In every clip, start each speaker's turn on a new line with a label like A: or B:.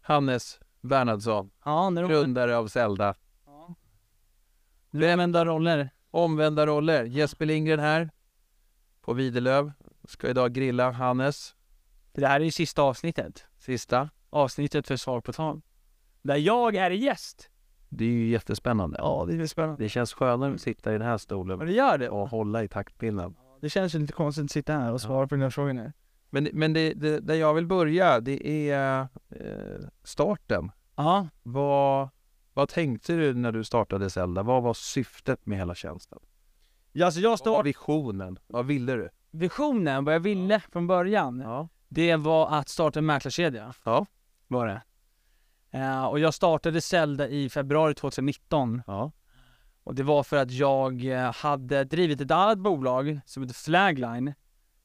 A: Hannes Bernhardsson,
B: Ja, när de...
A: grundare av Zelda.
B: Ja. Vända roller.
A: Omvända roller. Jesper Lindgren här på Videlöv. Ska idag grilla Hannes,
B: Det här är ju sista avsnittet.
A: sista.
B: Avsnittet för Svar på tal. Där jag är gäst.
A: Det är ju jättespännande.
B: Ja, det blir spännande.
A: Det känns skönare att sitta i den här stolen
B: Men det gör det.
A: och hålla i taktpinnen.
B: Det känns ju lite konstigt att sitta här och svara på dina frågor nu.
A: Men, men det, det, där jag vill börja, det är eh, starten.
B: Ja,
A: Vad, vad tänkte du när du startade Zelda? Vad var syftet med hela tjänsten?
B: Ja, alltså jag
A: Vad var
B: står...
A: visionen? Vad ville du?
B: Visionen, vad jag ville från början,
A: Ja.
B: det var att starta en mäklarkedja.
A: Ja.
B: Var det. Eh, och jag startade Zelda i februari 2019.
A: Ja.
B: Och det var för att jag eh, hade drivit ett annat bolag som heter Flagline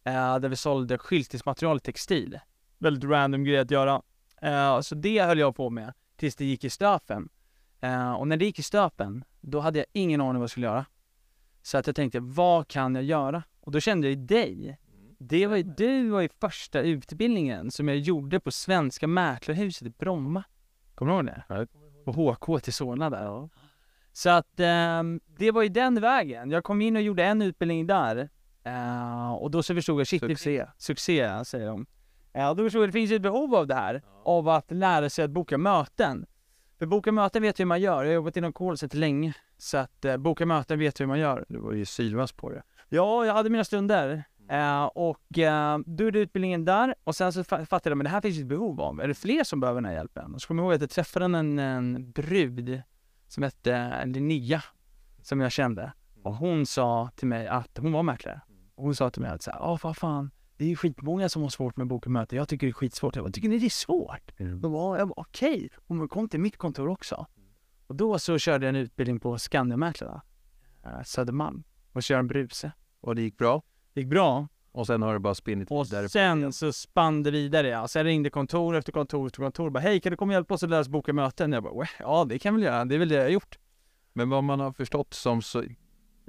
B: eh, där vi sålde skyltningsmaterial i textil. Väldigt random grej att göra. Eh, Så det höll jag på med tills det gick i stöpen. Eh, Och när det gick i stöpen, då hade jag ingen aning vad jag skulle göra. Så att jag tänkte, vad kan jag göra? Och då kände jag ju dig. Det var ju, du var ju första utbildningen som jag gjorde på Svenska Mäklarhuset i Bromma. Kommer du ihåg det?
A: Ja.
B: På HK till Solna där. Så att ehm, det var ju den vägen. Jag kom in och gjorde en utbildning där. Eh, och då så förstod jag, shit, det-
A: Succé.
B: succé säger de. Ja, då förstår jag, det finns ju ett behov av det här, av att lära sig att boka möten. För boka möten vet jag hur man gör, jag har jobbat inom callcenter länge. Så att eh, boka möten vet jag hur man gör.
A: Du var ju sylvass på det.
B: Ja, jag hade mina stunder. Eh, och eh, då gjorde utbildningen där och sen så fa- fattade jag, men det här finns ju ett behov av. Är det fler som behöver den här hjälpen? Och så kommer jag ihåg att jag träffade en, en brud som hette Linnea, som jag kände. Och hon sa till mig att hon var mäklare. Och hon sa till mig att så här, "Ja, vad fan, det är ju skitmånga som har svårt med att boka möten. Jag tycker det är skitsvårt. Jag bara, tycker ni det är svårt? Då var jag bara, okej, hon bara, kom till mitt kontor också. Och då så körde jag en utbildning på Skandiamäklarna, eh, Södermalm, och körde en bruse.
A: Och det gick bra.
B: Det gick bra.
A: Och sen har det bara spinnit
B: Och
A: vidare.
B: sen så spann det vidare ja. Sen ringde kontor efter kontor efter kontor och bara hej kan du komma och hjälpa oss att lära oss boka möten? Jag bara "Weh, ja det kan vi väl göra, det är väl det jag har gjort.
A: Men vad man har förstått som så,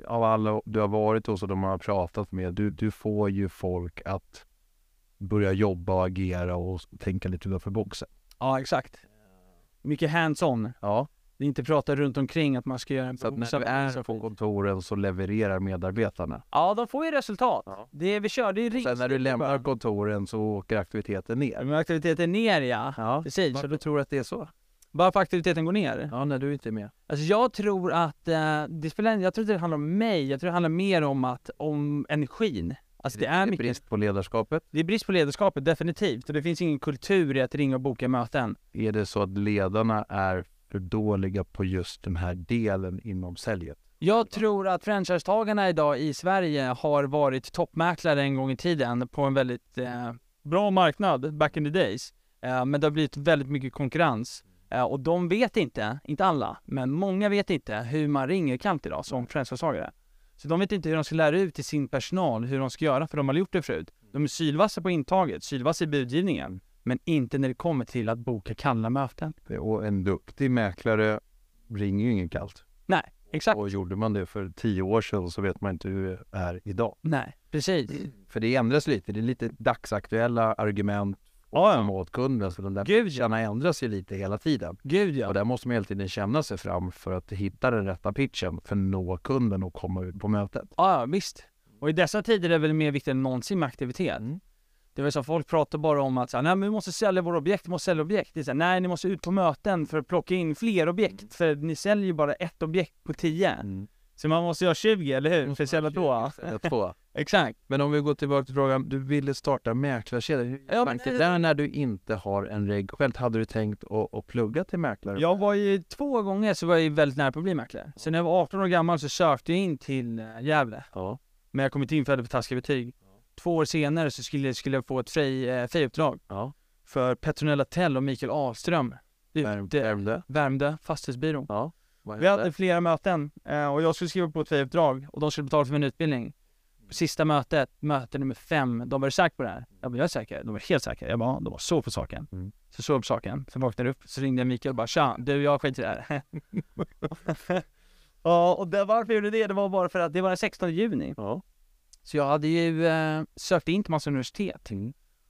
A: av alla du har varit hos och de man har pratat med, du, du får ju folk att börja jobba och agera och tänka lite utanför boxen.
B: Ja exakt. Mycket hands-on.
A: Ja,
B: Det är inte prata runt omkring att man ska göra en
A: så att när du är på kontoren så levererar medarbetarna.
B: Ja de får ju resultat.
A: Ja.
B: Det vi körde i ring.
A: Sen när du lämnar kontoren så åker aktiviteten ner.
B: Men aktiviteten ner ja.
A: Ja,
B: Precis.
A: varför tror du att det är så?
B: Bara för aktiviteten går ner.
A: Ja, när du inte är med.
B: Alltså jag tror att, eh, det spelar, jag tror inte det handlar om mig, jag tror det handlar mer om att, om energin. Alltså det är mycket
A: brist på ledarskapet.
B: Det är brist på ledarskapet, definitivt. Och det finns ingen kultur i att ringa och boka möten.
A: Är det så att ledarna är för dåliga på just den här delen inom säljet?
B: Jag tror att franchisetagarna idag i Sverige har varit toppmäklare en gång i tiden på en väldigt eh, bra marknad back in the days. Eh, men det har blivit väldigt mycket konkurrens. Eh, och de vet inte, inte alla, men många vet inte hur man ringer kallt idag som franchisetagare. Så de vet inte hur de ska lära ut till sin personal hur de ska göra för de har gjort det förut. De är sylvassa på intaget, sylvassa i budgivningen, men inte när det kommer till att boka kalla möten.
A: Och en duktig mäklare ringer ju ingen kallt.
B: Exakt.
A: Och gjorde man det för tio år sedan så vet man inte hur det är idag.
B: Nej, Mm. precis.
A: För det ändras lite. Det är lite dagsaktuella argument ja. åt kunden. Så de där
B: Gud, ja.
A: pitcharna ändras ju lite hela tiden.
B: Gud ja.
A: Och där måste man hela tiden känna sig fram för att hitta den rätta pitchen för att nå kunden och komma ut på mötet.
B: Ja, ja, visst. Och i dessa tider är det väl mer viktigt än någonsin med aktivitet.
A: Mm.
B: Det var ju så folk pratar bara om att så här, nej men vi måste sälja våra objekt, vi måste sälja objekt. Det är så här, nej ni måste ut på möten för att plocka in fler objekt. För ni säljer ju bara ett objekt på tio.
A: Mm.
B: Så Mm. man måste göra 20, eller hur? För att sälja då.
A: Ett, två.
B: Exakt.
A: Men om vi går tillbaka till frågan, du ville starta mäklarkedja. Hur
B: Ja,
A: ja,
B: men-
A: men... Där när du inte har en reg själv, hade du tänkt att, att plugga till mäklare?
B: Jag var ju två gånger så var jag ju väldigt nära på att bli mäklare. Så när jag var 18 år gammal så sökte jag in till eh, Gävle.
A: Ja.
B: Men jag kom inte in för jag hade för taskiga betyg. Två år senare så skulle, skulle jag få ett frej, eh, frejuppdrag.
A: Ja.
B: För Petronella Tell och Mikael Ahlström.
A: Värmde?
B: Ute,
A: Värmde?
B: Värmdö fastighetsbyrå.
A: Ja. Vad
B: Vi
A: hände?
B: hade flera möten eh, och jag skulle skriva på ett frejuppdrag och de skulle betala för min utbildning. På sista mötet, möte nummer fem, de var säkra på det här? Jag bara, jag är säker. De var helt säkra. Jag bara, ja, de var så på saken.
A: Mm.
B: Så så på saken. Sen vaknade jag upp, så ringde jag Mikael och bara, tja, du jag skiter i det här. ja, och det, varför jag gjorde det? Det var bara för att det var den 16 juni.
A: Ja.
B: Så jag hade ju eh, sökt
A: Mm.
B: in till massa universitet.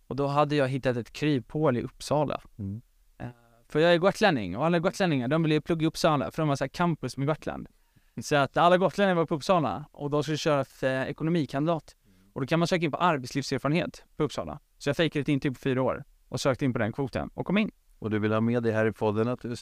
B: Och då hade jag hittat ett kryphål i Uppsala.
A: Mm.
B: Eh, För jag är gotlänning och alla gotlänningar de ville ju plugga i Uppsala för de har så här campus med Gotland. Så att alla gotlänningar var på Uppsala och de skulle köra för ekonomikandidat. Och då kan man söka in på arbetslivserfarenhet på Uppsala. Så jag fejkade ett intyg på fyra år och sökte in på den kvoten och kom in.
A: Och du vill ha med dig här i podden att du...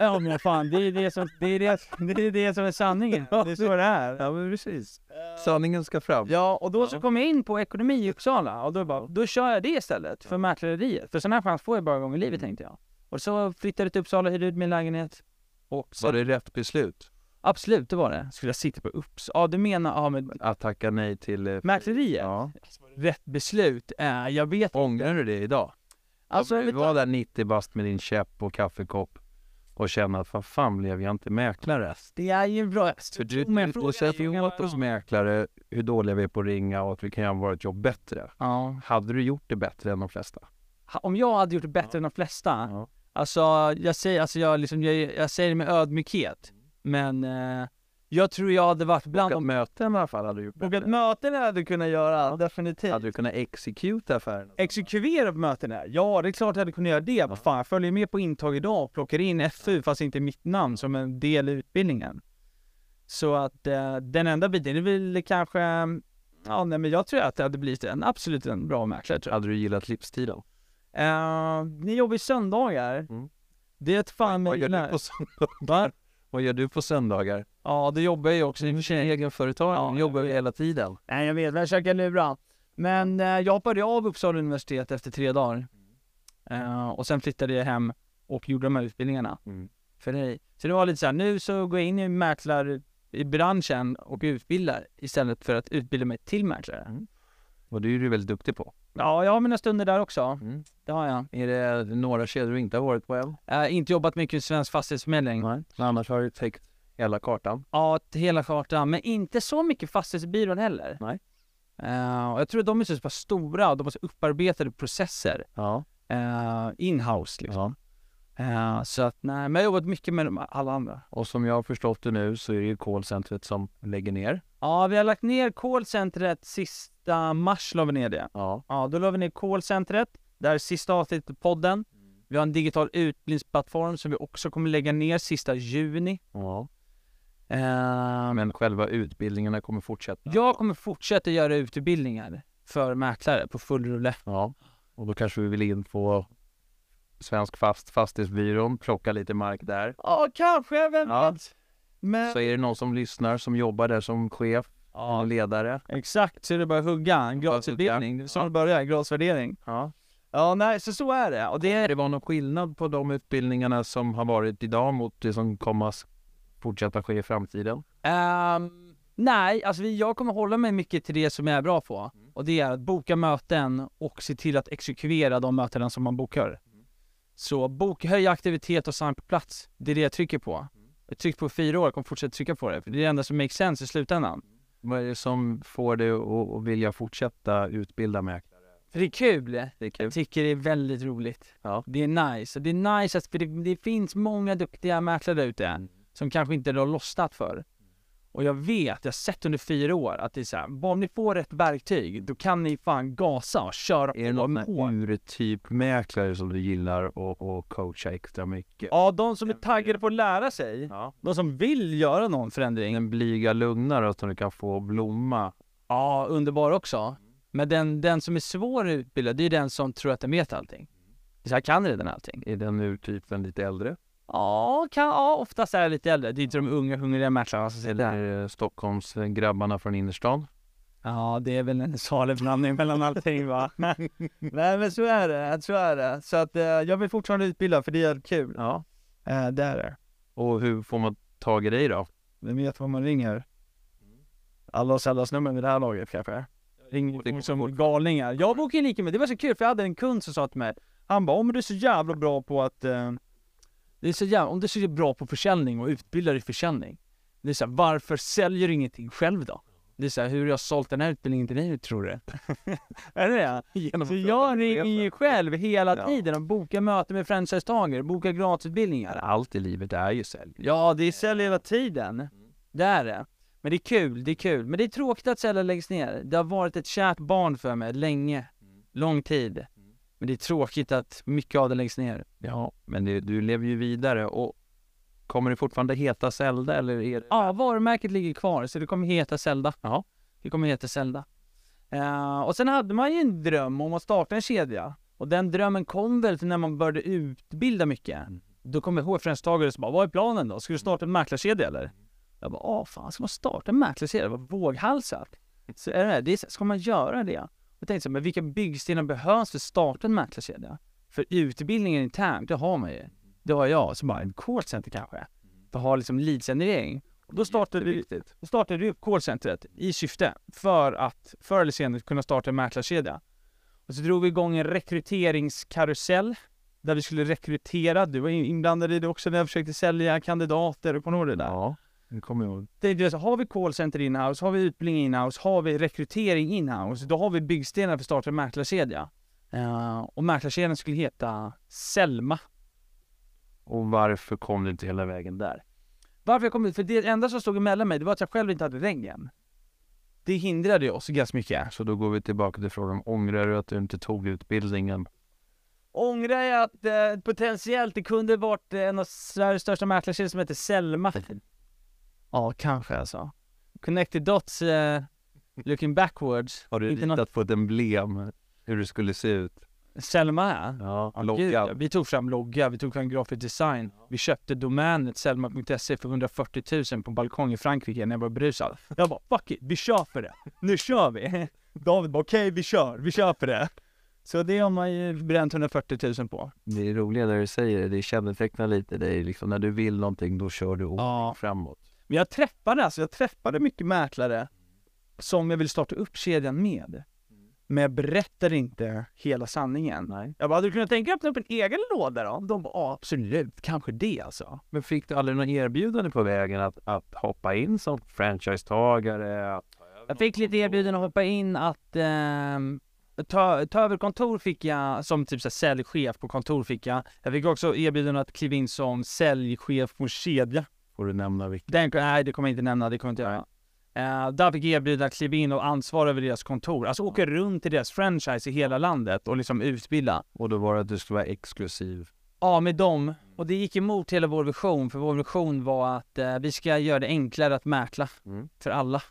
B: Ja men fan, det är det som, det är det, det är, det som är sanningen. Det är så det är.
A: Ja men precis. Sanningen ska fram.
B: Ja, och då så kom jag in på ekonomi i Uppsala och då bara, då kör jag det istället för mäkleriet. För sån här chans får jag bara en gång i livet tänkte jag. Och så flyttade jag till Uppsala, hyrde ut min lägenhet. Och så,
A: Var det rätt beslut?
B: Absolut, det var det. Skulle jag sitta på Uppsala? Ja, du menar, ja men
A: Att tacka nej till... eh,
B: mäkleriet?
A: Ja.
B: Rätt beslut? Äh, jag vet
A: Ångrar du det idag?
B: Alltså, jag
A: du
B: vet
A: var där 90 bast med din käpp och kaffekopp och kände att vad fan blev jag inte mäklare?
B: Det är ju bra.
A: För du, du, du säger ju åt oss mäklare hur dåliga vi är på att ringa och att vi kan göra vårt jobb bättre.
B: Ja.
A: Hade du gjort det bättre än de flesta?
B: Ha- Om jag hade gjort det bättre än de flesta,
A: Ja.
B: alltså jag säger, alltså, jag, liksom, jag, jag säger det med ödmjukhet,
A: Mm.
B: men eh, jag tror jag hade varit bland
A: Och att
B: de...
A: möten i alla fall hade du gjort bättre.
B: möten hade kunnat göra, definitivt.
A: Hade du kunnat execute affären?
B: Exekvera på mötena? Ja, det är klart jag hade kunnat göra det. Vad fan, jag följer med på intag idag och plockar in FU, fast inte mitt namn, som en del i utbildningen. Så att eh, den enda biten är väl kanske, ja nej men jag tror att det hade blivit en absolut en bra mäklare tror jag.
A: Hade du gillat livstiden?
B: Eh, ni jobbar ju söndagar.
A: Mm.
B: Det är ett fan
A: Vad gör, du
B: med...
A: på söndag?
B: Va?
A: Vad gör du på söndagar?
B: Ja, det jobbar jag ju också i och för sig.
A: Egenföretagare,
B: Ja,
A: du jobbar ju hela tiden.
B: Nej jag vet, men jag försöker lura. Men eh, jag hoppade av Uppsala universitet efter tre dagar. Eh, och sen flyttade jag hem och gjorde de här utbildningarna.
A: Mm.
B: För dig. Så det var lite så här, nu så går jag in i mäklar i branschen och utbildar istället för att utbilda mig till mäklare.
A: Och det är du väldigt duktig på.
B: Ja, jag har mina stunder där också.
A: Mm.
B: Det har jag.
A: Är det några kedjor du inte har varit på än?
B: Eh, inte jobbat mycket i svensk fastighetsförmedling.
A: Nej. Annars har du täckt hela kartan.
B: Ja, till hela kartan, men inte så mycket fastighetsbyrån heller.
A: Nej.
B: Eh, och jag tror att de är så pass stora och de har så upparbetade processer
A: Ja.
B: eh, inhouse liksom.
A: ja.
B: Eh, så att nej, men jag har jobbat mycket med de, alla andra.
A: Och som jag har förstått det nu så är det ju callcentret som lägger ner.
B: Ja, vi har lagt ner callcentret sista mars la vi ner det.
A: Ja.
B: Ja, då la vi ner callcentret. Det här är sista avsnittet på podden.
A: Mm.
B: Vi har en digital utbildningsplattform som vi också kommer lägga ner sista juni.
A: ja.
B: Eh,
A: Men själva utbildningarna kommer fortsätta.
B: jag kommer fortsätta göra utbildningar för mäklare på full rulle.
A: Ja. Och då kanske vi vill in på Svensk Fast Fastighetsbyrån, plocka lite mark där.
B: Ja, kanske. Vem
A: Ja.
B: vet? Men...
A: Så är det någon som lyssnar som jobbar där som chef,
B: Ja,
A: ledare.
B: exakt. Så är det bara att hugga. En gradsutdelning. Det är så det börjar. Gradsvärdering.
A: Ja.
B: Ja, nej, så så är det. Och det
A: Det var någon skillnad på de utbildningarna som har varit idag mot det som kommer att fortsätta ske i framtiden.
B: Ehm, nej, alltså vi, jag kommer hålla mig mycket till det som jag är bra på. Och det är att boka möten och se till att exekvera de mötena som man bokar. Så bok, höja aktivitet och sign på plats. Det är det jag trycker på. Jag tryckt på fyra år, jag kommer fortsätta trycka på det. För det är det enda som makes sense i slutändan.
A: Vad är det som får dig att att vilja fortsätta utbilda mäklare?
B: För det är kul.
A: Det är kul.
B: Jag tycker det är väldigt roligt.
A: Ja.
B: Det är nice. Och det är nice att för det, det finns många duktiga mäklare där ute som kanske inte har lossnat för. Och jag vet, jag har sett under fyra år att det är så här, bara om ni får rätt verktyg, då kan ni fan gasa och köra
A: Är det
B: på med
A: någon
B: hårt.
A: urtyp mäklare som du gillar och, och coacha extra mycket?
B: Ja, de som är taggade på att lära sig,
A: Ja.
B: de som vill göra någon förändring.
A: Den blyga lugnare som du kan få blomma.
B: Ja, underbar också. Men den, den som är svår att utbilda, det är den som tror att den vet allting. Så jag kan redan allting.
A: Är den urtypen lite äldre?
B: Ja, kan, ja oftast är det lite äldre. Det är inte de unga hungriga mäklarna som
A: Eller
B: sitter här.
A: är det Stockholms eh, grabbarna från innerstan?
B: Ja, det är väl en salig blandning mellan allting va? Nej men så är det, så är det. Så att eh, jag vill fortfarande utbilda för det är kul.
A: Ja.
B: Eh, det är det.
A: Och hur får man tag i dig då?
B: Vem vet vad man ringer? Allas allas nummer vid det här laget kanske.
A: Och det
B: Ringer
A: går
B: som galningar. Jag bokade lika med, det var så kul för jag hade en kund som sa till mig, han bara om du är så jävla bra på att, eh, det är så jävla, om du är så bra på försäljning och utbildar i försäljning. Det är så här, varför säljer du ingenting själv då? Det är så här, hur har jag sålt den här utbildningen till dig tror du? är det det?
A: Genom
B: Så jag ringer ju själv hela
A: Ja.
B: tiden och bokar möten med franchisetagare, bokar gratisutbildningar.
A: Allt i livet är ju sälj.
B: Ja, det är sälj hela tiden. Det är det. Men det är kul, det är kul. Men det är tråkigt att sälja läggs ner. Det har varit ett kärt barn för mig länge. Lång tid. Men det är tråkigt att mycket av det läggs ner.
A: Ja, men det, du lever ju vidare och kommer det fortfarande heta Zelda eller är det...
B: Ja, varumärket ligger kvar så det kommer heta Zelda.
A: Ja.
B: Det kommer heta Zelda. Eh, och sen hade man ju en dröm om att starta en kedja. Och den drömmen kom väl till när man började utbilda mycket.
A: Mm.
B: Då kom jag ihåg främstagare som bara, vad är planen då? Ska du starta en mäklarkedja eller? Jag bara, ah fan, ska man starta en mäklarkedja? Vad våghalsat. Så är det, här, det är, så- ska man göra det? Jag tänkte så här, men vilka byggstenar behövs för att starta en mäklarkedja? För utbildningen internt, det har man ju. Det har jag. Så bara, en callcenter kanske? För att ha liksom leadgenerering. Och Då startade vi
A: Jätteviktigt.
B: då startade vi upp callcentret i syfte för att förr eller senare kunna starta en mäklarkedja. Och så drog vi igång en rekryteringskarusell där vi skulle rekrytera. Du var in- inblandad i det också när jag försökte sälja kandidater. Kommer du ihåg det där?
A: Ja, det kommer jag ihåg.
B: Tänkte jag så, har vi callcenter inhouse, har vi utbildning inhouse, har vi rekrytering inhouse, då har vi byggstenar för att starta en mäklarkedja. Eh, och mäklarkedjan skulle heta Selma.
A: Och varför kom du inte hela vägen där?
B: Varför jag kom ut? För det enda som stod emellan mig, det var att jag själv inte hade rängen. Det hindrade ju oss ganska mycket.
A: Så då går vi tillbaka till frågan, ångrar du att du inte tog utbildningen?
B: ångrar jag att eh, potentiellt det kunde varit eh, en av Sveriges största mäklarkedjor som heter Selma. Ja, kanske alltså. Connected Dots, eh, looking backwards.
A: Har du
B: Inte något-
A: ritat på ett emblem hur det skulle se ut?
B: Selma ja.
A: Ja,
B: Ja, gud, ja.
A: loggan.
B: Vi tog fram logga, vi tog fram grafisk design. Vi köpte domänet selma.se för 140 000 på en balkong i Frankrike när jag var brusad. Jag bara fuck it, vi kör för det. Nu kör vi. David bara okej, vi kör, vi kör för det. Så det har man ju bränt 140 000 på.
A: Det är roliga när du säger det, det kännetecknar lite dig liksom. När du vill någonting då kör du
B: Ja.
A: framåt.
B: Men jag träffade alltså, jag träffade mycket mäklare som jag ville starta upp kedjan med. Men jag berättade inte hela sanningen.
A: Nej.
B: Jag bara, hade du kunnat tänka dig att öppna upp en egen låda då? De bara, "Ja, absolut, kanske det alltså.
A: Men fick du aldrig något erbjudande på vägen att, att hoppa in som franchisetagare? Att...
B: Jag fick lite erbjudanden att hoppa in att ehm, ta, ta över kontor fick jag, som typ så här, säljchef på kontor fick jag. Jag fick också erbjudanden att kliva in som säljchef på en kedja.
A: Får du nämna vilket?
B: Den, nej, det kommer jag inte nämna, det kommer jag inte göra. Eh, där fick jag erbjudande att kliva in och ansvara över deras kontor. Alltså åka runt till deras franchise i hela landet och liksom utbilda.
A: Och då var det att du skulle vara exklusiv.
B: Ja, med dem. Och det gick emot hela vår vision, för vår vision var att eh, vi ska göra det enklare att mäkla
A: Mm.
B: för alla.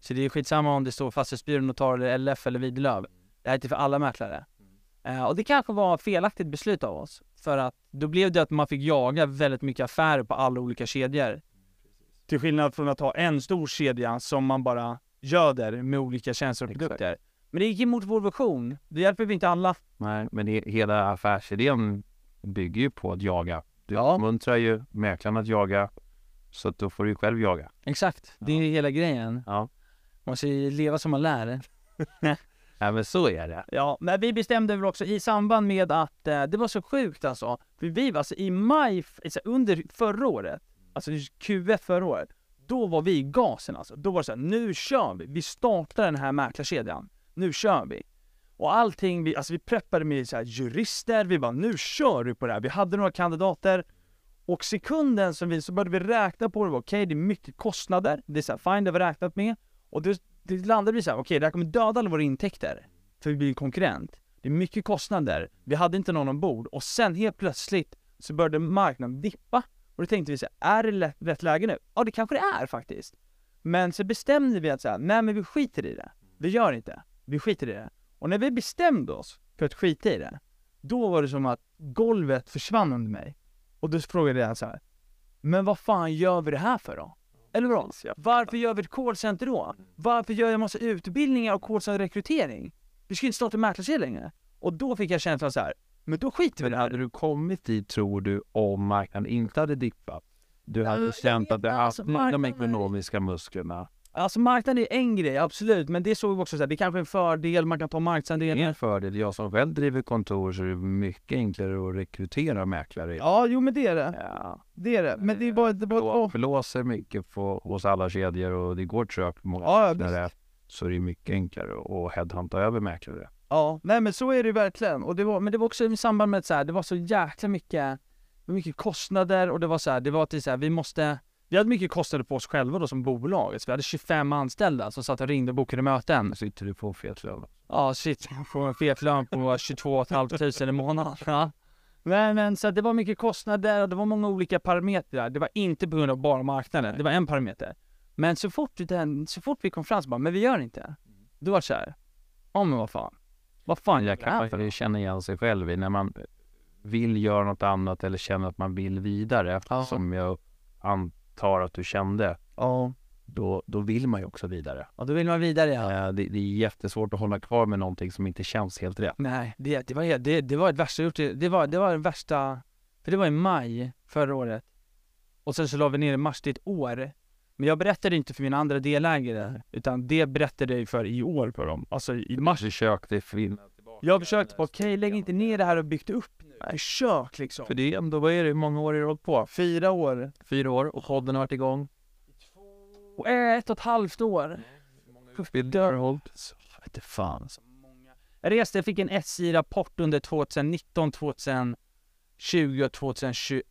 B: Så det är skitsamma om det står Fastighetsbyrån, Notarier, LF eller Videlöv. Det här är till för alla mäklare. Eh, och det kanske var ett felaktigt beslut av oss. För att då blev det att man fick jaga väldigt mycket affärer på alla olika kedjor. Till skillnad från att ha en stor kedja som man bara göder med olika tjänster och
A: Exakt.
B: produkter. Men det gick emot vår vision. Det hjälper vi inte alla.
A: Nej, men he- hela affärsidén bygger ju på att jaga. Du
B: Ja.
A: uppmuntrar ju mäklaren att jaga. Så att då får du ju själv jaga.
B: Exakt, det är hela grejen.
A: Ja.
B: Man ska ju leva som man lär.
A: Ja, men så är det.
B: Ja, men vi bestämde väl också i samband med att eh, det var så sjukt alltså. För vi var alltså i maj, f- alltså under förra året, alltså i Q1 förra året, då var vi i gasen alltså. Då var det så här, nu kör vi, vi startar den här mäklarkedjan. Nu kör vi. Och allting, vi, alltså vi preppade med så här jurister, vi bara nu kör vi på det här. Vi hade några kandidater och sekunden som vi, så började vi räkna på det, Vi bara, okej det är mycket kostnader, det är så här, fine, det har vi räknat med. Och det, det landade vi så här, okej det här kommer döda alla våra intäkter för vi blir en konkurrent. Det är mycket kostnader, vi hade inte någon ombord och sen helt plötsligt så började marknaden dippa och då tänkte vi så här, är det lä- rätt läge nu? Ja det kanske det är faktiskt. Men så bestämde vi att så här, nej men vi skiter i det. Vi gör inte. Vi skiter i det. Och när vi bestämde oss för att skita i det, då var det som att golvet försvann under mig. Och då frågade jag så här, men vad fan gör vi det här för då? Eller vadå? Varför gör vi ett callcenter då? Varför gör jag massa utbildningar och callcenter-rekrytering? Vi ska ju inte starta en mäklarkedja längre. Och då fick jag känslan så här, men då skiter vi i
A: Men
B: det här.
A: hade du kommit dit tror du om marknaden inte hade dippat? Du
B: Ja,
A: hade
B: jag
A: känt
B: vet
A: att du
B: inte,
A: haft
B: alltså,
A: de
B: marknaden-
A: ekonomiska musklerna.
B: Alltså marknaden är en grej, absolut, men det såg vi också så här, det är kanske är en fördel, man kan ta
A: Det är
B: marknadsandelar.
A: en fördel. Jag som själv driver kontor så är det mycket enklare att rekrytera mäklare.
B: Ja, jo men det är det.
A: Ja.
B: Det är det. Men det är bara... Det är bara
A: Blå-
B: åh.
A: Blåser mycket på, hos alla kedjor och det går trögt mot
B: Ja, ja,
A: mäklare. Så det är mycket enklare att headhunta över mäklare.
B: Ja, nej men så är det ju verkligen. Och det var, men det var också i samband med att så här, det var så jäkla mycket, det var mycket kostnader och det var så här, det var till så här, vi måste, Vi hade mycket kostnader på oss själva då som bolag. Så vi hade 25 anställda som satt och ringde och bokade möten.
A: Sitter du på fet lön?
B: Ja, shit, jag får en fet lön på 22 500 i månaden. Ja. Men, men så att det var mycket kostnader och det var många olika parametrar. Det var inte på grund av bara marknaden. Det var en parameter. Men så fort, den, så fort vi kom fram så bara, men vi gör det inte. Då var det så här, ja men vad fan. Vad fan
A: Jag
B: jag kan
A: kan känna igen sig själv i när man vill göra något annat eller känner att man vill vidare,
B: Ja.
A: som jag antar att du kände,
B: Ja.
A: då, då vill man ju också vidare.
B: Och då vill man vidare ja.
A: Eh, Det, det är jättesvårt att hålla kvar med någonting som inte känns helt rätt.
B: Nej, det, det, var, helt- det, det var det värsta jag gjort. Det var, det var den värsta, för det var i maj förra året. Och sen så la vi ner i mars, det är ett år. Men jag berättade inte för mina andra delägare, utan det berättade jag ju för i år för dem. Alltså i mars.
A: Försökte finna tillbaka.
B: Jag försökte bara, okej lägg inte ner det här och byggt upp nu. Försök liksom.
A: För det är ändå, vad är det, hur många år har du hållit på?
B: Fyra år.
A: Fyra år och podden har varit igång.
B: Och eh, ett och ett halvt år.
A: Utbildningar har du hållit. Så, jag vet inte fan.
B: Alltså, många... Jag reste, jag fick en SJ-rapport under 2019, 2020 och 2021.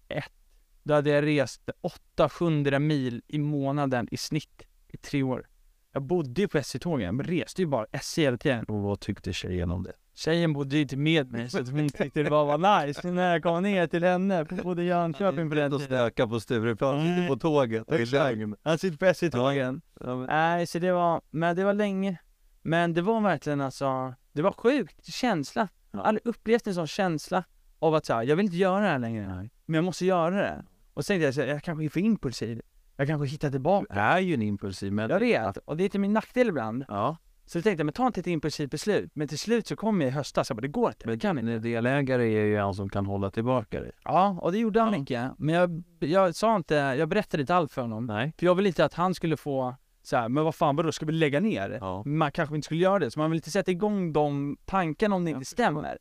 B: Då hade jag rest 800 mil i månaden i snitt i tre år. Jag bodde ju på SJ-tågen, men reste ju bara SJ hela tiden.
A: Och vad tyckte tjejen om det?
B: Tjejen bodde ju inte med mig så att hon tyckte det bara var nice när jag kom ner till henne. Hon bodde i Jönköping på den tiden.
A: stöka på Stureplan,
B: sitter på
A: tåget
B: i lögn. Han sitter på SJ-tågen. Nej, så det var, men det var länge. Men det var verkligen alltså, det var sjukt känsla. Jag har aldrig upplevt en sån känsla av att så här, jag vill inte göra det här längre. Men jag måste göra det. Och sen tänkte jag så här, jag kanske är för impulsiv. Jag kanske hittar tillbaka.
A: Du är ju en impulsiv
B: Jag
A: människa.
B: vet, och det är till min nackdel ibland.
A: Ja,
B: Så jag tänkte, men ta inte ett impulsivt beslut. Men till slut så kom jag i höstas, jag bara, det går inte.
A: men kan en delägare är ju en som kan hålla tillbaka dig.
B: Ja, och det gjorde han mycket. Men jag, jag sa inte, jag berättade inte allt för honom.
A: Nej.
B: För jag ville inte att han skulle få så här, men vad fan vadå, ska vi lägga ner?
A: Ja.
B: man kanske inte skulle göra det. Så man vill inte sätta igång de tankarna om det inte stämmer.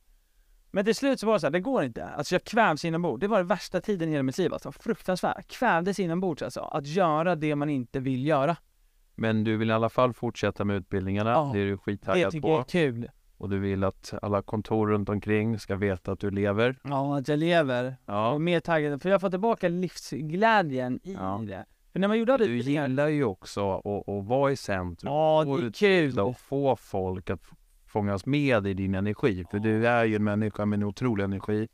B: Men till slut så var det så här, det går inte. Alltså jag kvävs inombords. Det var den värsta tiden i hela mitt liv alltså. Fruktansvärt. Kvävdes inombords alltså. Att göra det man inte vill göra.
A: Men du vill i alla fall fortsätta med utbildningarna.
B: Ja.
A: Det är du
B: Det
A: skittaggad
B: tycker jag är
A: på.
B: kul.
A: Och du vill att alla kontor runt omkring ska veta att du lever.
B: Ja, att jag lever. Och
A: Ja.
B: mer taggad. För jag får tillbaka livsglädjen i
A: Ja.
B: det. För när man gjorde det.
A: Du gillar ju också att, att vara i centrum
B: Ja, det är kul.
A: och få folk att fångas med i din energi. För du är ju en människa med en otrolig energi.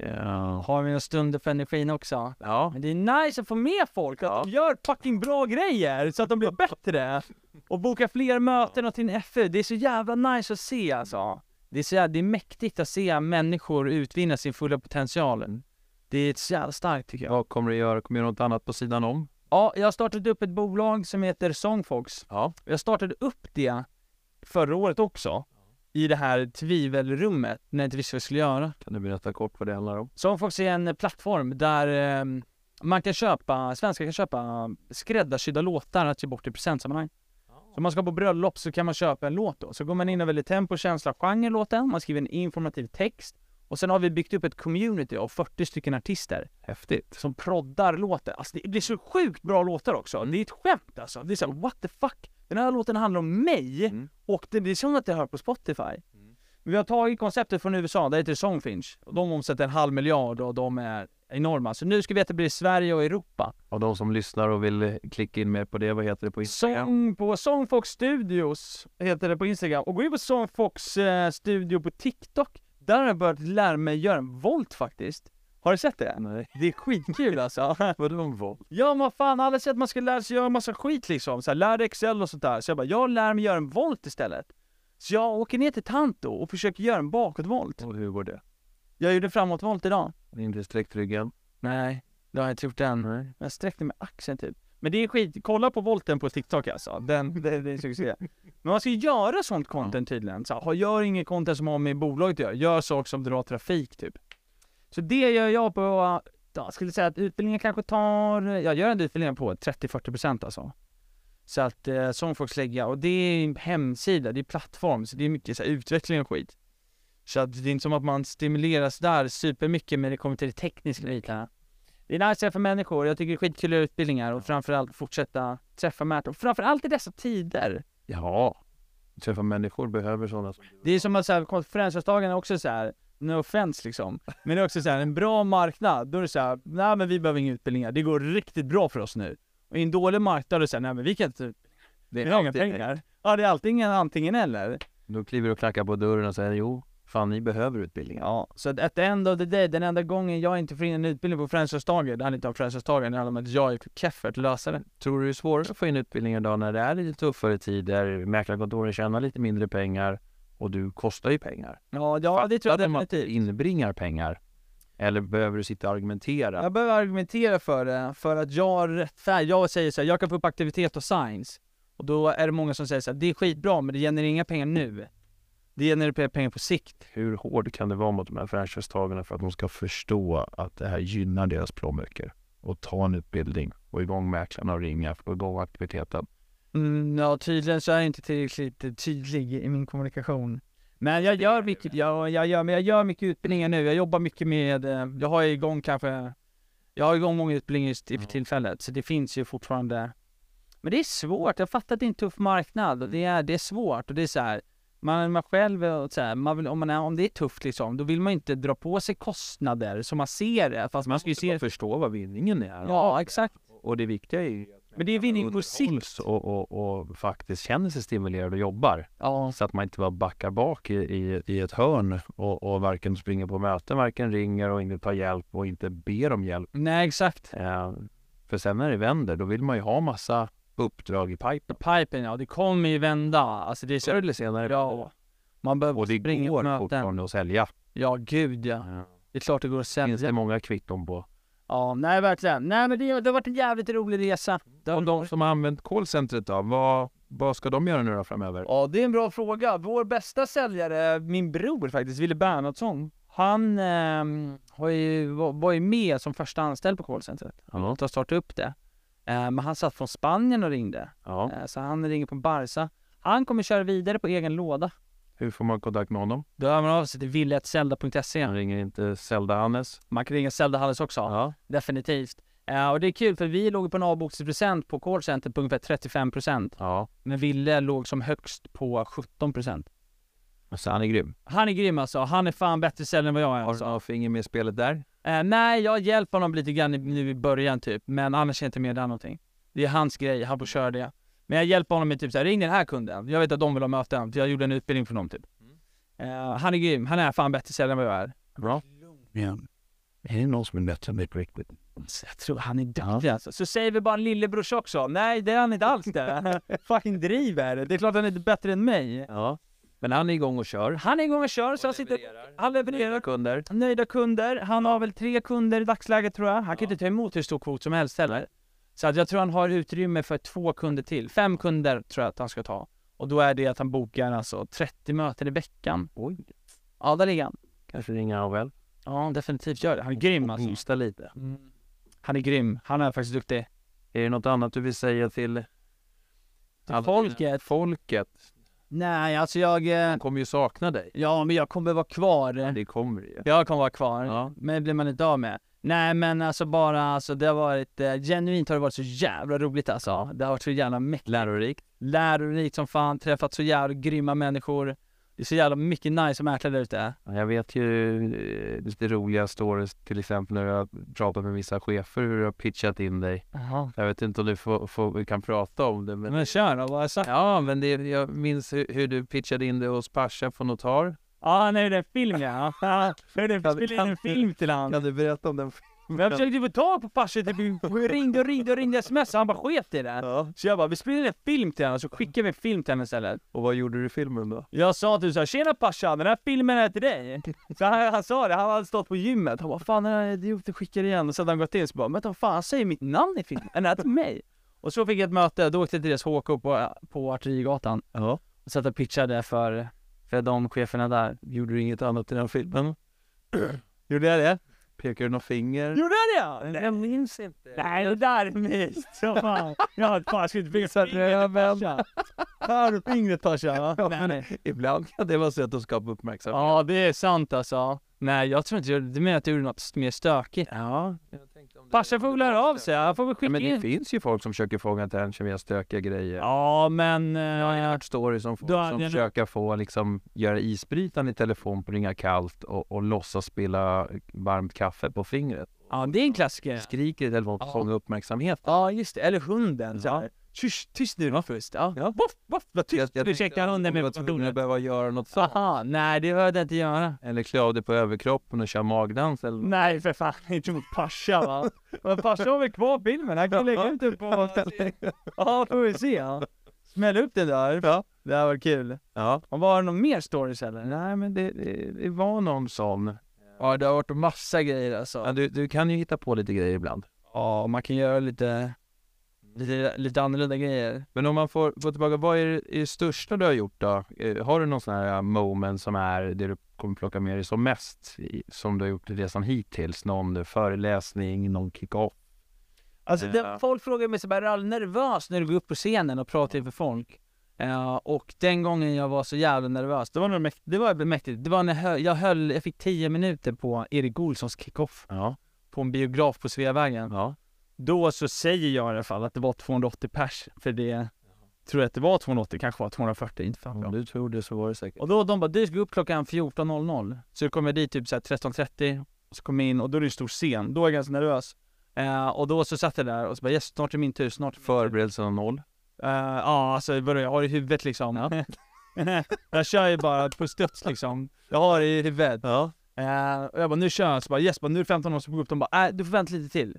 A: Eh, Ja.
B: Har vi några stunder för energin också.
A: ja.
B: Men det är nice att få med folk, att
A: Ja.
B: de gör fucking bra grejer så att de blir bättre. Och boka fler möten och till en FU. Det är så jävla nice att se alltså. Det är, så jävla, det är mäktigt att se människor utvinna sin fulla potential. Det är så jävla starkt tycker jag.
A: Vad kommer du göra? Kommer du göra något annat på sidan om?
B: Ja, jag har startat upp ett bolag som heter Songfox.
A: Ja.
B: Jag startade upp det förra året också. I det här tvivelrummet, när jag inte visste vad jag skulle göra.
A: Kan du berätta kort vad det handlar om?
B: Songfox är en plattform där eh, man kan köpa, svenskar kan köpa skräddarsydda låtar att ge bort i presentsammanhang. Så om man ska på bröllop så kan man köpa en låt då. Så går man in och väljer tempo, känsla, genre i låten, man skriver en informativ text och sen har vi byggt upp ett community av 40 stycken artister
A: Häftigt.
B: som proddar låten. Alltså det blir så sjukt bra låtar
A: Mm.
B: också. Det är ett skämt alltså. Det är såhär what the fuck. Den här låten handlar om mig
A: Mm.
B: och det blir som att jag hör på Spotify. Men vi har tagit konceptet från USA, där heter det Songfinch. Och de omsätter en halv miljard och de är enorma. Så nu ska vi etablera i Sverige och Europa.
A: Och de som lyssnar och vill eh, klicka in mer på det, vad heter det på Instagram?
B: Song på Songfox Studios heter det på Instagram. Och gå in på Songfox eh, Studio på TikTok. Där har jag börjat lära mig göra en volt faktiskt. Har du sett det?
A: Nej.
B: Det är skitkul alltså.
A: Vadå en volt?
B: Ja men fan, alla säger att man ska lära sig göra massa skit liksom, så här, lär dig Excel och sånt där. Så jag bara, jag lär mig göra en volt istället. Så jag åker ner till Tanto och försöker göra en bakåtvolt.
A: Och hur går det?
B: Jag gjorde en framåtvolt idag.
A: Inte sträckt ryggen?
B: Nej, det har jag inte gjort än. Men
A: Nej.
B: Jag sträckte med axeln typ. Men det är skit, kolla på volten på TikTok alltså. Den, det, det är succé. Men man ska ju göra sånt content tydligen. Så här, ha- gör ingen content som har med bolaget att göra. Gör saker som drar trafik typ. Så det gör jag på, ja, skulle säga att utbildningen kanske tar, jag gör en utbildning på 30-40% alltså. Så att eh, Songfox lägger jag, och det är en hemsida, det är plattform, så det är mycket så här, utveckling och skit. Så att det är inte som att man stimuleras där supermycket men det kommer till de tekniska bitarna. Det är nice för människor, jag tycker det är skitkul att göra utbildningar och framförallt fortsätta träffa människor. Framförallt i dessa tider.
A: Ja. Träffa människor behöver sådana. som-
B: Det är som att så här, konferensdagarna också så här. no offense liksom. Men det är också så här, en bra marknad, då är det så här, nej men vi behöver inga utbildningar, det går riktigt bra för oss nu. Och i en dålig marknad, då är det så här, nej men vi kan inte,
A: Det
B: vi har inga
A: alltid-
B: pengar. Ja, det är alltid ingen antingen eller.
A: Då kliver du och klackar på dörren och säger jo, fan ni behöver utbildningen.
B: Ja, så att at the end of the day, den enda gången jag inte får in en utbildning på franchisetagare, det handlar inte om franchisetagare, det handlar om att jag är keff för att lösa det.
A: Tror du det är svårare att få in utbildningar idag när det är lite tuffare tider, mäklarkontoren tjänar lite mindre pengar och du kostar ju pengar?
B: Ja, ja det tror jag
A: Fattar man att
B: definitivt.
A: Inbringar pengar? Eller behöver du sitta och argumentera?
B: Jag behöver argumentera för det, för att jag rättfärdigar, jag säger så här, jag kan få upp aktivitet och science. Och då är det många som säger så här, det är skitbra men det genererar inga pengar nu. Det genererar pengar på sikt.
A: Hur hård kan det vara mot de här franchisetagarna för att de ska förstå att det här gynnar deras plånböcker? Och ta en utbildning, få igång mäklarna och ringa, få igång aktiviteten.
B: Mm, ja, tydligen så är jag inte tillräckligt eh, tydlig i min kommunikation. Men jag gör mycket, jag, jag, gör, men jag gör mycket utbildningar nu, jag jobbar mycket med, eh, jag har igång kanske, jag har igång många utbildningar just i- för tillfället, så det finns ju fortfarande. Men det är svårt, jag fattar att det är en tuff marknad och det är, det är svårt och det är så här, man, man själv, är så här, man vill, om, man är, om det är tufft liksom, då vill man ju inte dra på sig kostnader som man ser det, fast man ska ju se,
A: förstå vad vinningen är.
B: ja exakt.
A: Och det viktiga är ju
B: Men det är vinning på sikt.
A: och, och, och faktiskt känner sig stimulerad och jobbar.
B: Ja,
A: Så att man inte bara backar bak i, i, i ett hörn och, och varken springer på möten, varken ringer och inte tar hjälp och inte ber om hjälp.
B: nej exakt.
A: Eh, för sen när det vänder, då vill man ju ha massa uppdrag i pipen.
B: Pipen ja, det kommer ju vända. Alltså det är
A: Förr
B: så
A: eller senare.
B: bra. Man behöver
A: Och det
B: springa på
A: går
B: möten.
A: fortfarande att sälja. Eh,
B: Ja, gud ja. Det är klart det går att
A: Finns det
B: sälja.
A: många kvitton på.
B: Ja, nej verkligen. Nej men det, det har varit en jävligt rolig resa. Det har
A: Och de som har använt callcentret då, vad, vad ska de göra nu då framöver?
B: Ja, det är en bra fråga. Vår bästa säljare, min bror faktiskt, Wille Bernhardsson, han ehm, har ju, var, var ju med som första anställd på callcentret.
A: Ja.
B: De startade upp det. Eh, men han satt från Spanien och ringde.
A: Ja.
B: Eh, så han ringer på Barca. Han kommer köra vidare på egen låda.
A: Hur får man kontakt med honom?
B: Då hör man av sig till wille.zelda.se.
A: Han ringer inte Zelda Hannes.
B: Man kan ringa Zelda Halles också, definitivt. Eh, och det är kul för vi låg på en avbokningsprocent på callcenter på ungefär 35%
A: ja.
B: men Ville låg som högst på 17%.
A: Så han är grym.
B: Alltså, Han är grym alltså, han är fan bättre säljare än vad jag är
A: Har du
B: alltså.
A: några finger med i spelet där?
B: Eh, nej, jag hjälper honom lite grann i- nu i början typ, men annars är jag inte med där någonting. Det är hans grej, han får köra det. Men jag hjälper honom med typ såhär, ring den här kunden, jag vet att de vill ha möten, för jag gjorde en utbildning för dem typ. Eh, han är grym, han är fan bättre säljare än vad jag är.
A: Bra. Ja. Är det någon som är bättre än mig på riktigt?
B: Så Alltså, jag tror han är duktig alltså. Så säger vi bara lillebrors också. Nej, det är han inte alls det. Fucking driver. Det är klart han är inte bättre än mig.
A: Ja. Men han är igång och kör.
B: Han är igång och kör, så han sitter... Han levererar
A: kunder.
B: nöjda kunder. Han har väl tre kunder i dagsläget tror jag. Han kan inte ta emot hur stor kvot som helst heller. Så att jag tror han har utrymme för två kunder till. Fem kunder tror jag att han ska ta. Och då är det att han bokar alltså 30 möten i veckan.
A: Oj.
B: Ja, där ligger han.
A: Kanske ringer han väl.
B: Ja, definitivt gör det. Han är grym alltså.
A: Hosta lite.
B: Han är grym. Han är faktiskt duktig.
A: Är det något annat du vill säga till
B: Till
A: Alla-
B: folket.
A: folket?
B: Nej, alltså jag... eh,
A: De kommer ju sakna dig.
B: Ja, men jag kommer vara kvar.
A: Det kommer det ju.
B: Jag kommer vara kvar.
A: Ja.
B: Men det blir man inte av med. Nej men alltså bara alltså det har varit, eh, genuint har det varit så jävla roligt alltså. Det har varit så jävla mäktigt.
A: Lärorikt.
B: Lärorikt som fan, träffat så jävla grymma människor. Det är så jävla mycket nice mäklare där ute.
A: Ja, Jag vet ju eh, lite roliga stories, till exempel när jag pratat med vissa chefer hur du har pitchat in dig. Jag vet inte om du får, får, kan prata om det, men...
B: Men kör då, vad har jag sagt?
A: Ja, men det, jag minns hur, hur du pitchade in dig hos Pasha från Notar.
B: Ja, nu är det en film ja. Nu är det,
A: Kan-
B: spelade in
A: kan
B: en
A: du-
B: film till han.
A: du berätta om den?
B: Men jag försökte få tag på Pasha, typ, ringde och ringde och ringde sms, han bara sket i det.
A: Ja.
B: Så jag bara, vi spelar in en film till henne, så skickar vi en film till henne istället.
A: Och vad gjorde du i filmen då?
B: Jag sa typ såhär, tjena farsan, den här filmen är till dig. Så han, han sa det, han hade stått på gymmet, han bara fan den här idioten skickar igen och så hade han gått in så bara, men vad fan han säger mitt namn i filmen, är den här till mig? Och så fick jag ett möte, då åkte jag till deras HK på, på Artillerigatan
A: Ja.
B: och satt och pitchade för, för de cheferna där.
A: Gjorde du inget annat i den filmen?
B: Gjorde jag det?
A: Pekade du något finger?
B: Gjorde jag det? Nej,
A: minns inte.
B: Nej det där är myst som fan. Jag har fan skulle inte fixa röven. Här har du fingret farsan. va? Nej.
A: Ibland kan det vara sätt att skapa uppmärksamhet.
B: Ja det är sant alltså. Nej, jag tror inte jag, du menar att du gjorde något mer stökigt?
A: Ja.
B: Farsan får väl höra av sig, han får väl
A: Ja,
B: skicka
A: men det
B: in.
A: finns ju folk som försöker fånga attention via stökiga grejer.
B: Ja, men... eh,
A: story som,
B: Då
A: får,
B: hade
A: som
B: jag-
A: försöka få liksom göra isbrytaren i telefon på ringa kallt och, och låtsas spilla varmt kaffe på fingret.
B: ja, det är en klassiker.
A: Skriker i telefon för att
B: Ja.
A: fånga uppmärksamhet.
B: Ja, just det. Eller hunden. Så här. Tyst, tyst nu, var först. Ja. ja. Voff, voff, var tyst. nu checkar hunden med
A: på att
B: personen.
A: behöva göra något sånt.
B: Aha, nej, det behövde jag inte göra.
A: Eller klä av dig på överkroppen och köra magdans eller något.
B: Nej, för fan. Inte mot Pasha, va? Men Pasha har väl kvar filmen? Han kan lägga ut den på... Ja, får vi se. Ja. Smäll upp den där. Ja. Det här var kul.
A: Ja,
B: Och var det någon mer stories eller?
A: nej men det, det, det var någon sån.
C: Ja, det har varit massa grejer alltså.
A: Ja, du, du kan ju hitta på lite grejer ibland.
C: Ja, man kan göra lite, lite, lite annorlunda grejer.
A: Men om man får, får tillbaka, vad är det, är det största du har gjort då? Eh, Har du någon sån här moment som är det du kommer plocka med dig som mest i, som du har gjort i resan hittills? Någon eh, föreläsning, någon kick-off?
B: Alltså,
A: Ja.
B: det, folk frågar mig så bara, är du aldrig nervös när du går upp på scenen och pratar inför folk? Ja, och den gången jag var så jävla nervös, det var, nog mäkt, det var mäktigt. Det var när jag höll, jag, höll, jag fick 10 minuter på Erik Olssons kickoff
A: Ja.
B: på en biograf på Sveavägen.
A: ja.
B: Då så säger jag i alla fall att det var 280 pers, för det tror jag att det var 280, kanske var 240, inte fan
A: Om du tror det så var det säkert.
B: Och då de bara, du ska gå upp klockan 14.00. Så kom jag dit typ såhär 13.30, och så kom jag in och då är det en stor scen, då är jag ganska nervös. Eh, och då så satt jag där och så bara, yes, snart är min tur, snart är min tur."
A: Förberedelserna noll.
B: Eh, ja, alltså vadå, jag har det i huvudet liksom. jag kör ju bara på studs liksom. Jag har det i huvudet. Eh, och jag bara, nu kör jag. Så bara, yes, bara, nu är det 15 år som går upp. De bara, äh, du får vänta lite till.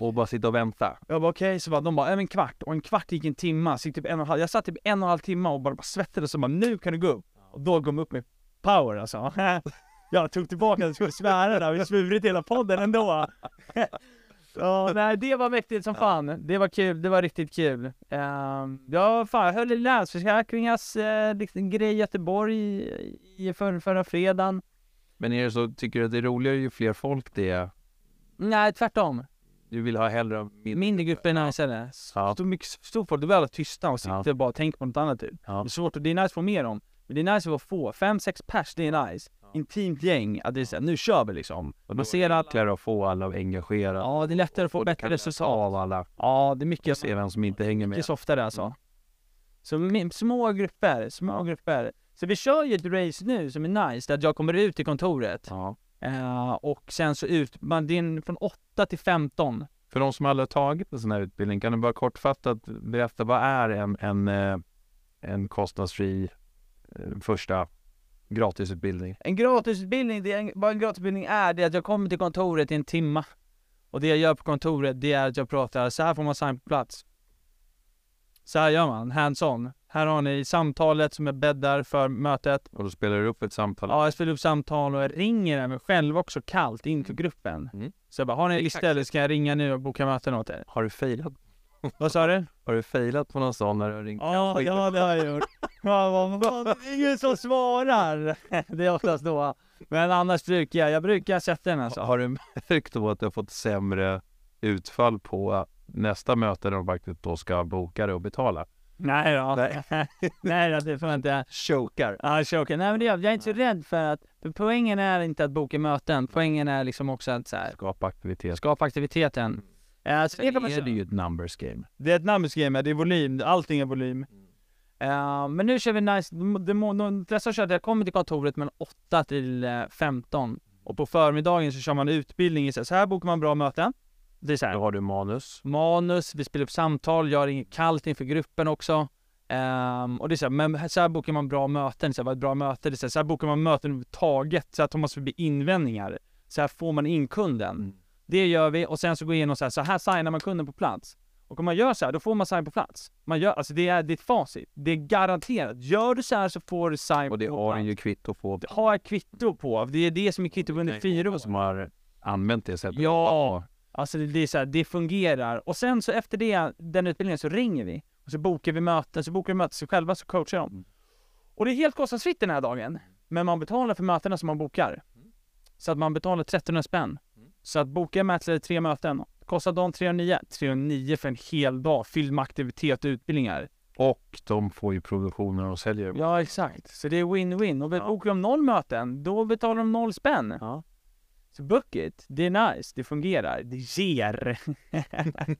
A: Och bara sitta och vänta.
B: Jag bara okej, så bara, de bara, äh, men kvart. Och en kvart gick en timma. Så gick typ en och en halv. Jag satt typ en och en halv timme och bara, bara svettades och bara, nu kan du gå upp. Och då kom upp med power alltså. jag tog tillbaka att jag skulle svära där. Vi har svurit hela podden ändå. Ja, nej, det var mäktigt som fan. Det var kul, det var riktigt kul. Ehm, ja, fan, jag höll i Länsförsäkringars eh, liksom, grej i Göteborg i, i förra, förra fredagen.
A: Men är det så, tycker du att det är roligare ju fler folk det är?
B: Nej, tvärtom.
A: Du vill ha hellre min...
B: Mindre grupper är najsare.
A: Ja.
B: Stor, mycket, stor folk, då blir alla tysta och sitter
A: Ja.
B: och bara och tänker på något annat typ.
A: Ja.
B: Det är svårt, och det är nice att få med dem. Men det är nice att vara få. Fem, sex pers, det är nice. Intimt gäng, att det är såhär, nu kör vi liksom. Man ser att,
A: Lättare att få alla engagerade.
B: ja det är lättare att få bättre resultat.
A: Av alla.
B: Ja, det är mycket
A: Se vem som inte hänger med.
B: Mycket softare alltså. Så min- små grupper, små grupper. Så vi kör ju ett race nu som är nice, där jag kommer ut till kontoret.
A: Ja.
B: Eh, och sen så ut, man, det är en- från 8 till 15.
A: För de som aldrig har tagit en sån här utbildning, kan du bara kortfattat berätta vad är en, en, eh, en kostnadsfri eh, första gratisutbildning?
B: En gratisutbildning, det är en, vad en gratisutbildning är, det är att jag kommer till kontoret i en timma. Och det jag gör på kontoret, det är att jag pratar, så här får man sign på plats. Så här gör man, hands-on. Här har ni samtalet som jag bäddar för mötet.
A: Och då spelar du upp ett samtal.
B: Ja, jag spelar upp samtal och jag ringer även själv också kallt in till gruppen.
A: Mm.
B: Så jag bara, har ni en lista eller ska jag ringa nu och boka möten åt er?
A: Har du failat?
B: Vad sa du?
A: Har du failat på någon sån när du har ringt?
B: Ja, ja det har jag gjort. Ja, vad fan, det är ingen som svarar. Det är oftast då. Men annars brukar jag, jag brukar sätta den alltså.
A: Har du märkt då att du har fått sämre utfall på nästa möte när de faktiskt då ska boka det och betala?
B: Nej då.
A: Nej.
B: Nej då, det får jag inte.
A: Chokar.
B: Ja, choker. Nej men det, jag är inte så rädd för att, för poängen är inte att boka möten. Poängen är liksom också att så här,
A: Skapa aktivitet.
B: skapa aktiviteten. Eh, så det kan man
A: är
B: säga.
A: det ju ett numbers game.
B: Det är ett namnsgame, det är volym, allting är volym.
A: Mm,
B: Eh, men nu kör vi nice, de, de flesta körde, jag kommer till kontoret mellan 8 till eh, 15. Och på förmiddagen så kör man utbildning i så här, så här bokar man bra möten. Det är så
A: Då
B: här,
A: har du manus.
B: manus, vi spelar upp samtal, gör inget kallt inför gruppen också. Ehm, och det är så här, men så här bokar man bra möten, så här, vad är ett bra möte? Det är så, här, så här bokar man möten överhuvudtaget, så här tar man förbi invändningar. Så här får man in kunden.
A: Mm.
B: Det gör vi och sen så går vi igenom så här, så här signar man kunden på plats. Och om man gör så här, då får man sign på plats. Man gör, alltså det är ditt facit. Det är garanterat. Gör du så här så får du sign
A: Och det
B: på
A: har
B: plats.
A: en ju kvitto på.
B: Det har jag kvitto på. Det är det som är kvitto på under fyra år.
A: som har använt det sättet.
B: Ja! Alltså det, det är så här, det fungerar. Och sen så efter det, den utbildningen, så ringer vi. Och så bokar vi möten, så bokar vi möten sig själva, så coachar de. Och det är helt kostnadsfritt den här dagen. Men man betalar för mötena som man bokar. Så att man betalar 1300 spänn. Så att boka en mätare tre möten, kostar de 309? 309 för en hel dag, fylld med aktivitet och utbildningar.
A: och de får ju provision när de säljer.
B: Ja, exakt. Så det är win-win. Och be- åker de noll möten, då betalar de noll spänn.
A: Ja.
B: Så book it. Det är nice. Det fungerar. Det ger. Mm.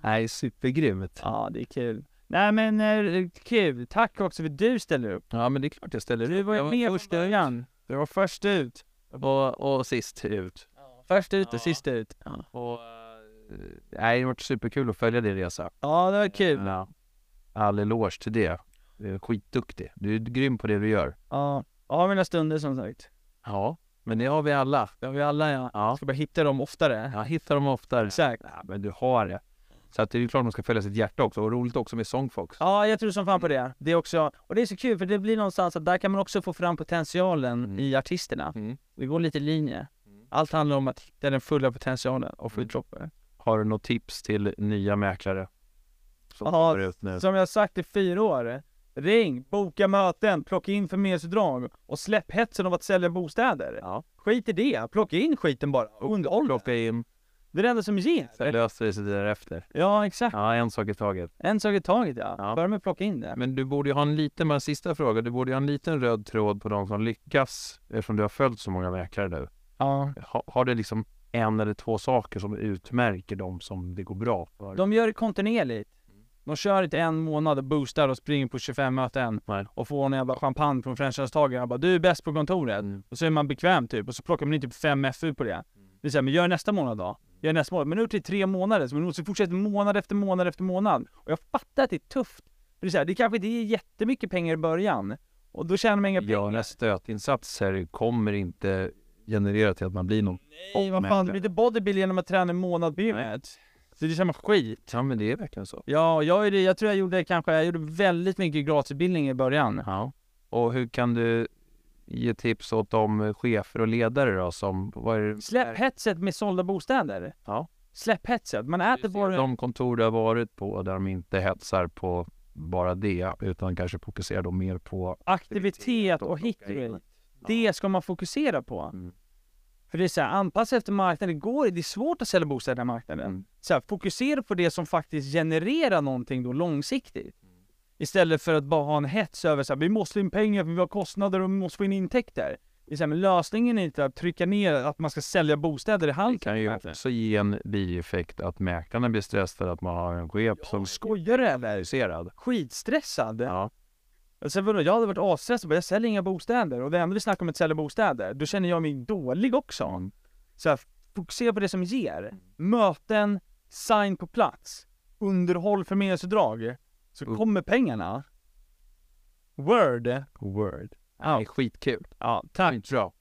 A: Nej, supergrymt.
B: ja, det är kul. Nej men eh, kul. Tack också för att du ställer upp.
A: Ja, men det är klart jag ställer
B: Du var ju
A: Jag var
B: med
A: först
B: från början.
A: Jag var först ut och, och sist ut.
B: Först ut och
A: Ja.
B: sist ut.
A: Och, eh, nej, det har varit superkul att följa din resa.
B: Ja, det var kul.
A: Ja. All eloge till det. Du är skitduktig. Du är grym på det du gör.
B: Ja, jag har mina stunder som sagt.
A: Ja, men det har vi alla.
B: Det har vi alla ja.
A: Ja,
B: Ska bara hitta dem oftare.
A: jag hittar dem oftare.
B: Exakt.
A: Ja, men du har det. Så att det är ju klart de ska följa sitt hjärta också. Och roligt också med Songfox.
B: Ja, jag tror som fan på det. Det är också, och det är så kul för det blir någonstans att där kan man också få fram potentialen
A: Mm.
B: i artisterna.
A: Mm.
B: Det går lite i linje.
A: Mm.
B: Allt handlar om att hitta den fulla potentialen av skivdroppare.
A: Har du något tips till nya mäklare? Som
B: Ja,
A: kommer ut nu.
B: Som jag har sagt i fyra år, ring, boka möten, plocka in förmedlingsutdrag och släpp hetsen av att sälja bostäder.
A: Ja.
B: Skit i det, plocka in skiten bara. Och underhåll det.
A: Plocka in,
B: Det är det enda som ger.
A: sen löser det sig därefter.
B: Ja, exakt.
A: Ja, en sak i taget.
B: En sak i taget ja.
A: Ja.
B: Börja med att plocka in det.
A: Men du borde ju ha en liten, bara en sista fråga. Du borde ju ha en liten röd tråd på de som lyckas eftersom du har följt så många mäklare nu.
B: Ja.
A: Ha, har du liksom en eller två saker som utmärker de som det går bra för?
B: De gör det kontinuerligt.
A: Mm.
B: De kör inte en månad och boostar och springer på 25 möten
A: Nej.
B: och får en jävla champagne från franchisetagaren. Jag bara du är bäst på kontoret.
A: Mm.
B: Och så är man bekväm typ och så plockar man in typ 5 FU på det. Det är så här, men gör nästa månad då.
A: Mm.
B: Gör nästa månad. Men nu är det i tre månader så man måste fortsätta månad efter månad efter månad. Och jag fattar att det är tufft. För det är så här, det kanske inte ger jättemycket pengar i början. Och då tjänar man inga pengar.
A: Göra stötinsatser kommer inte generera till att man blir någon.
B: Nej, vad fan,
A: mäklare.
B: du blir inte bodybuild genom att träna en månad på gymmet. Så det är samma skit.
A: Ja, men det är verkligen så.
B: Ja, jag, är det, jag tror jag gjorde kanske, jag gjorde väldigt mycket gratisutbildning i början.
A: Ja. Och hur kan du ge tips åt de chefer och ledare då som, vad är det?
B: Släpp hetset med sålda bostäder.
A: Ja.
B: Släpp hetset. Man äter bara...
A: de kontor du har varit på där de inte hetsar på bara det utan kanske fokuserar då mer på
B: aktivitet och hit
A: mm. plocka in.
B: rate. Det ska man fokusera på.
A: Mm.
B: För det är så här, anpassa efter marknaden. Det går, det är svårt att sälja bostäder i den här marknaden.
A: Mm.
B: Så här, fokusera på det som faktiskt genererar någonting då långsiktigt.
A: Mm.
B: Istället för att bara ha en hets över så här, vi måste in pengar för vi har kostnader och vi måste få in intäkter. Det är så här, men lösningen är inte att trycka ner att man ska sälja bostäder i
A: Det
B: halsen.
A: kan ju också ge en bieffekt att mäklarna blir stressade att man har en chef som
B: Skojar du eller?
A: skojariserad.
B: Skitstressad.
A: Ja.
B: Alltså vadå, jag hade varit asstressad bara, jag säljer inga bostäder och det enda vi snackar om är att sälja bostäder. Då känner jag mig dålig också. Så här, fokusera på det som ger. Möten, sign på plats, underhåll förmedlingsutdrag. Så
A: Mm.
B: kommer pengarna. Word.
A: Word.
B: Ja.
A: Det är skitkul.
B: Ja, tack.
A: Skitbra.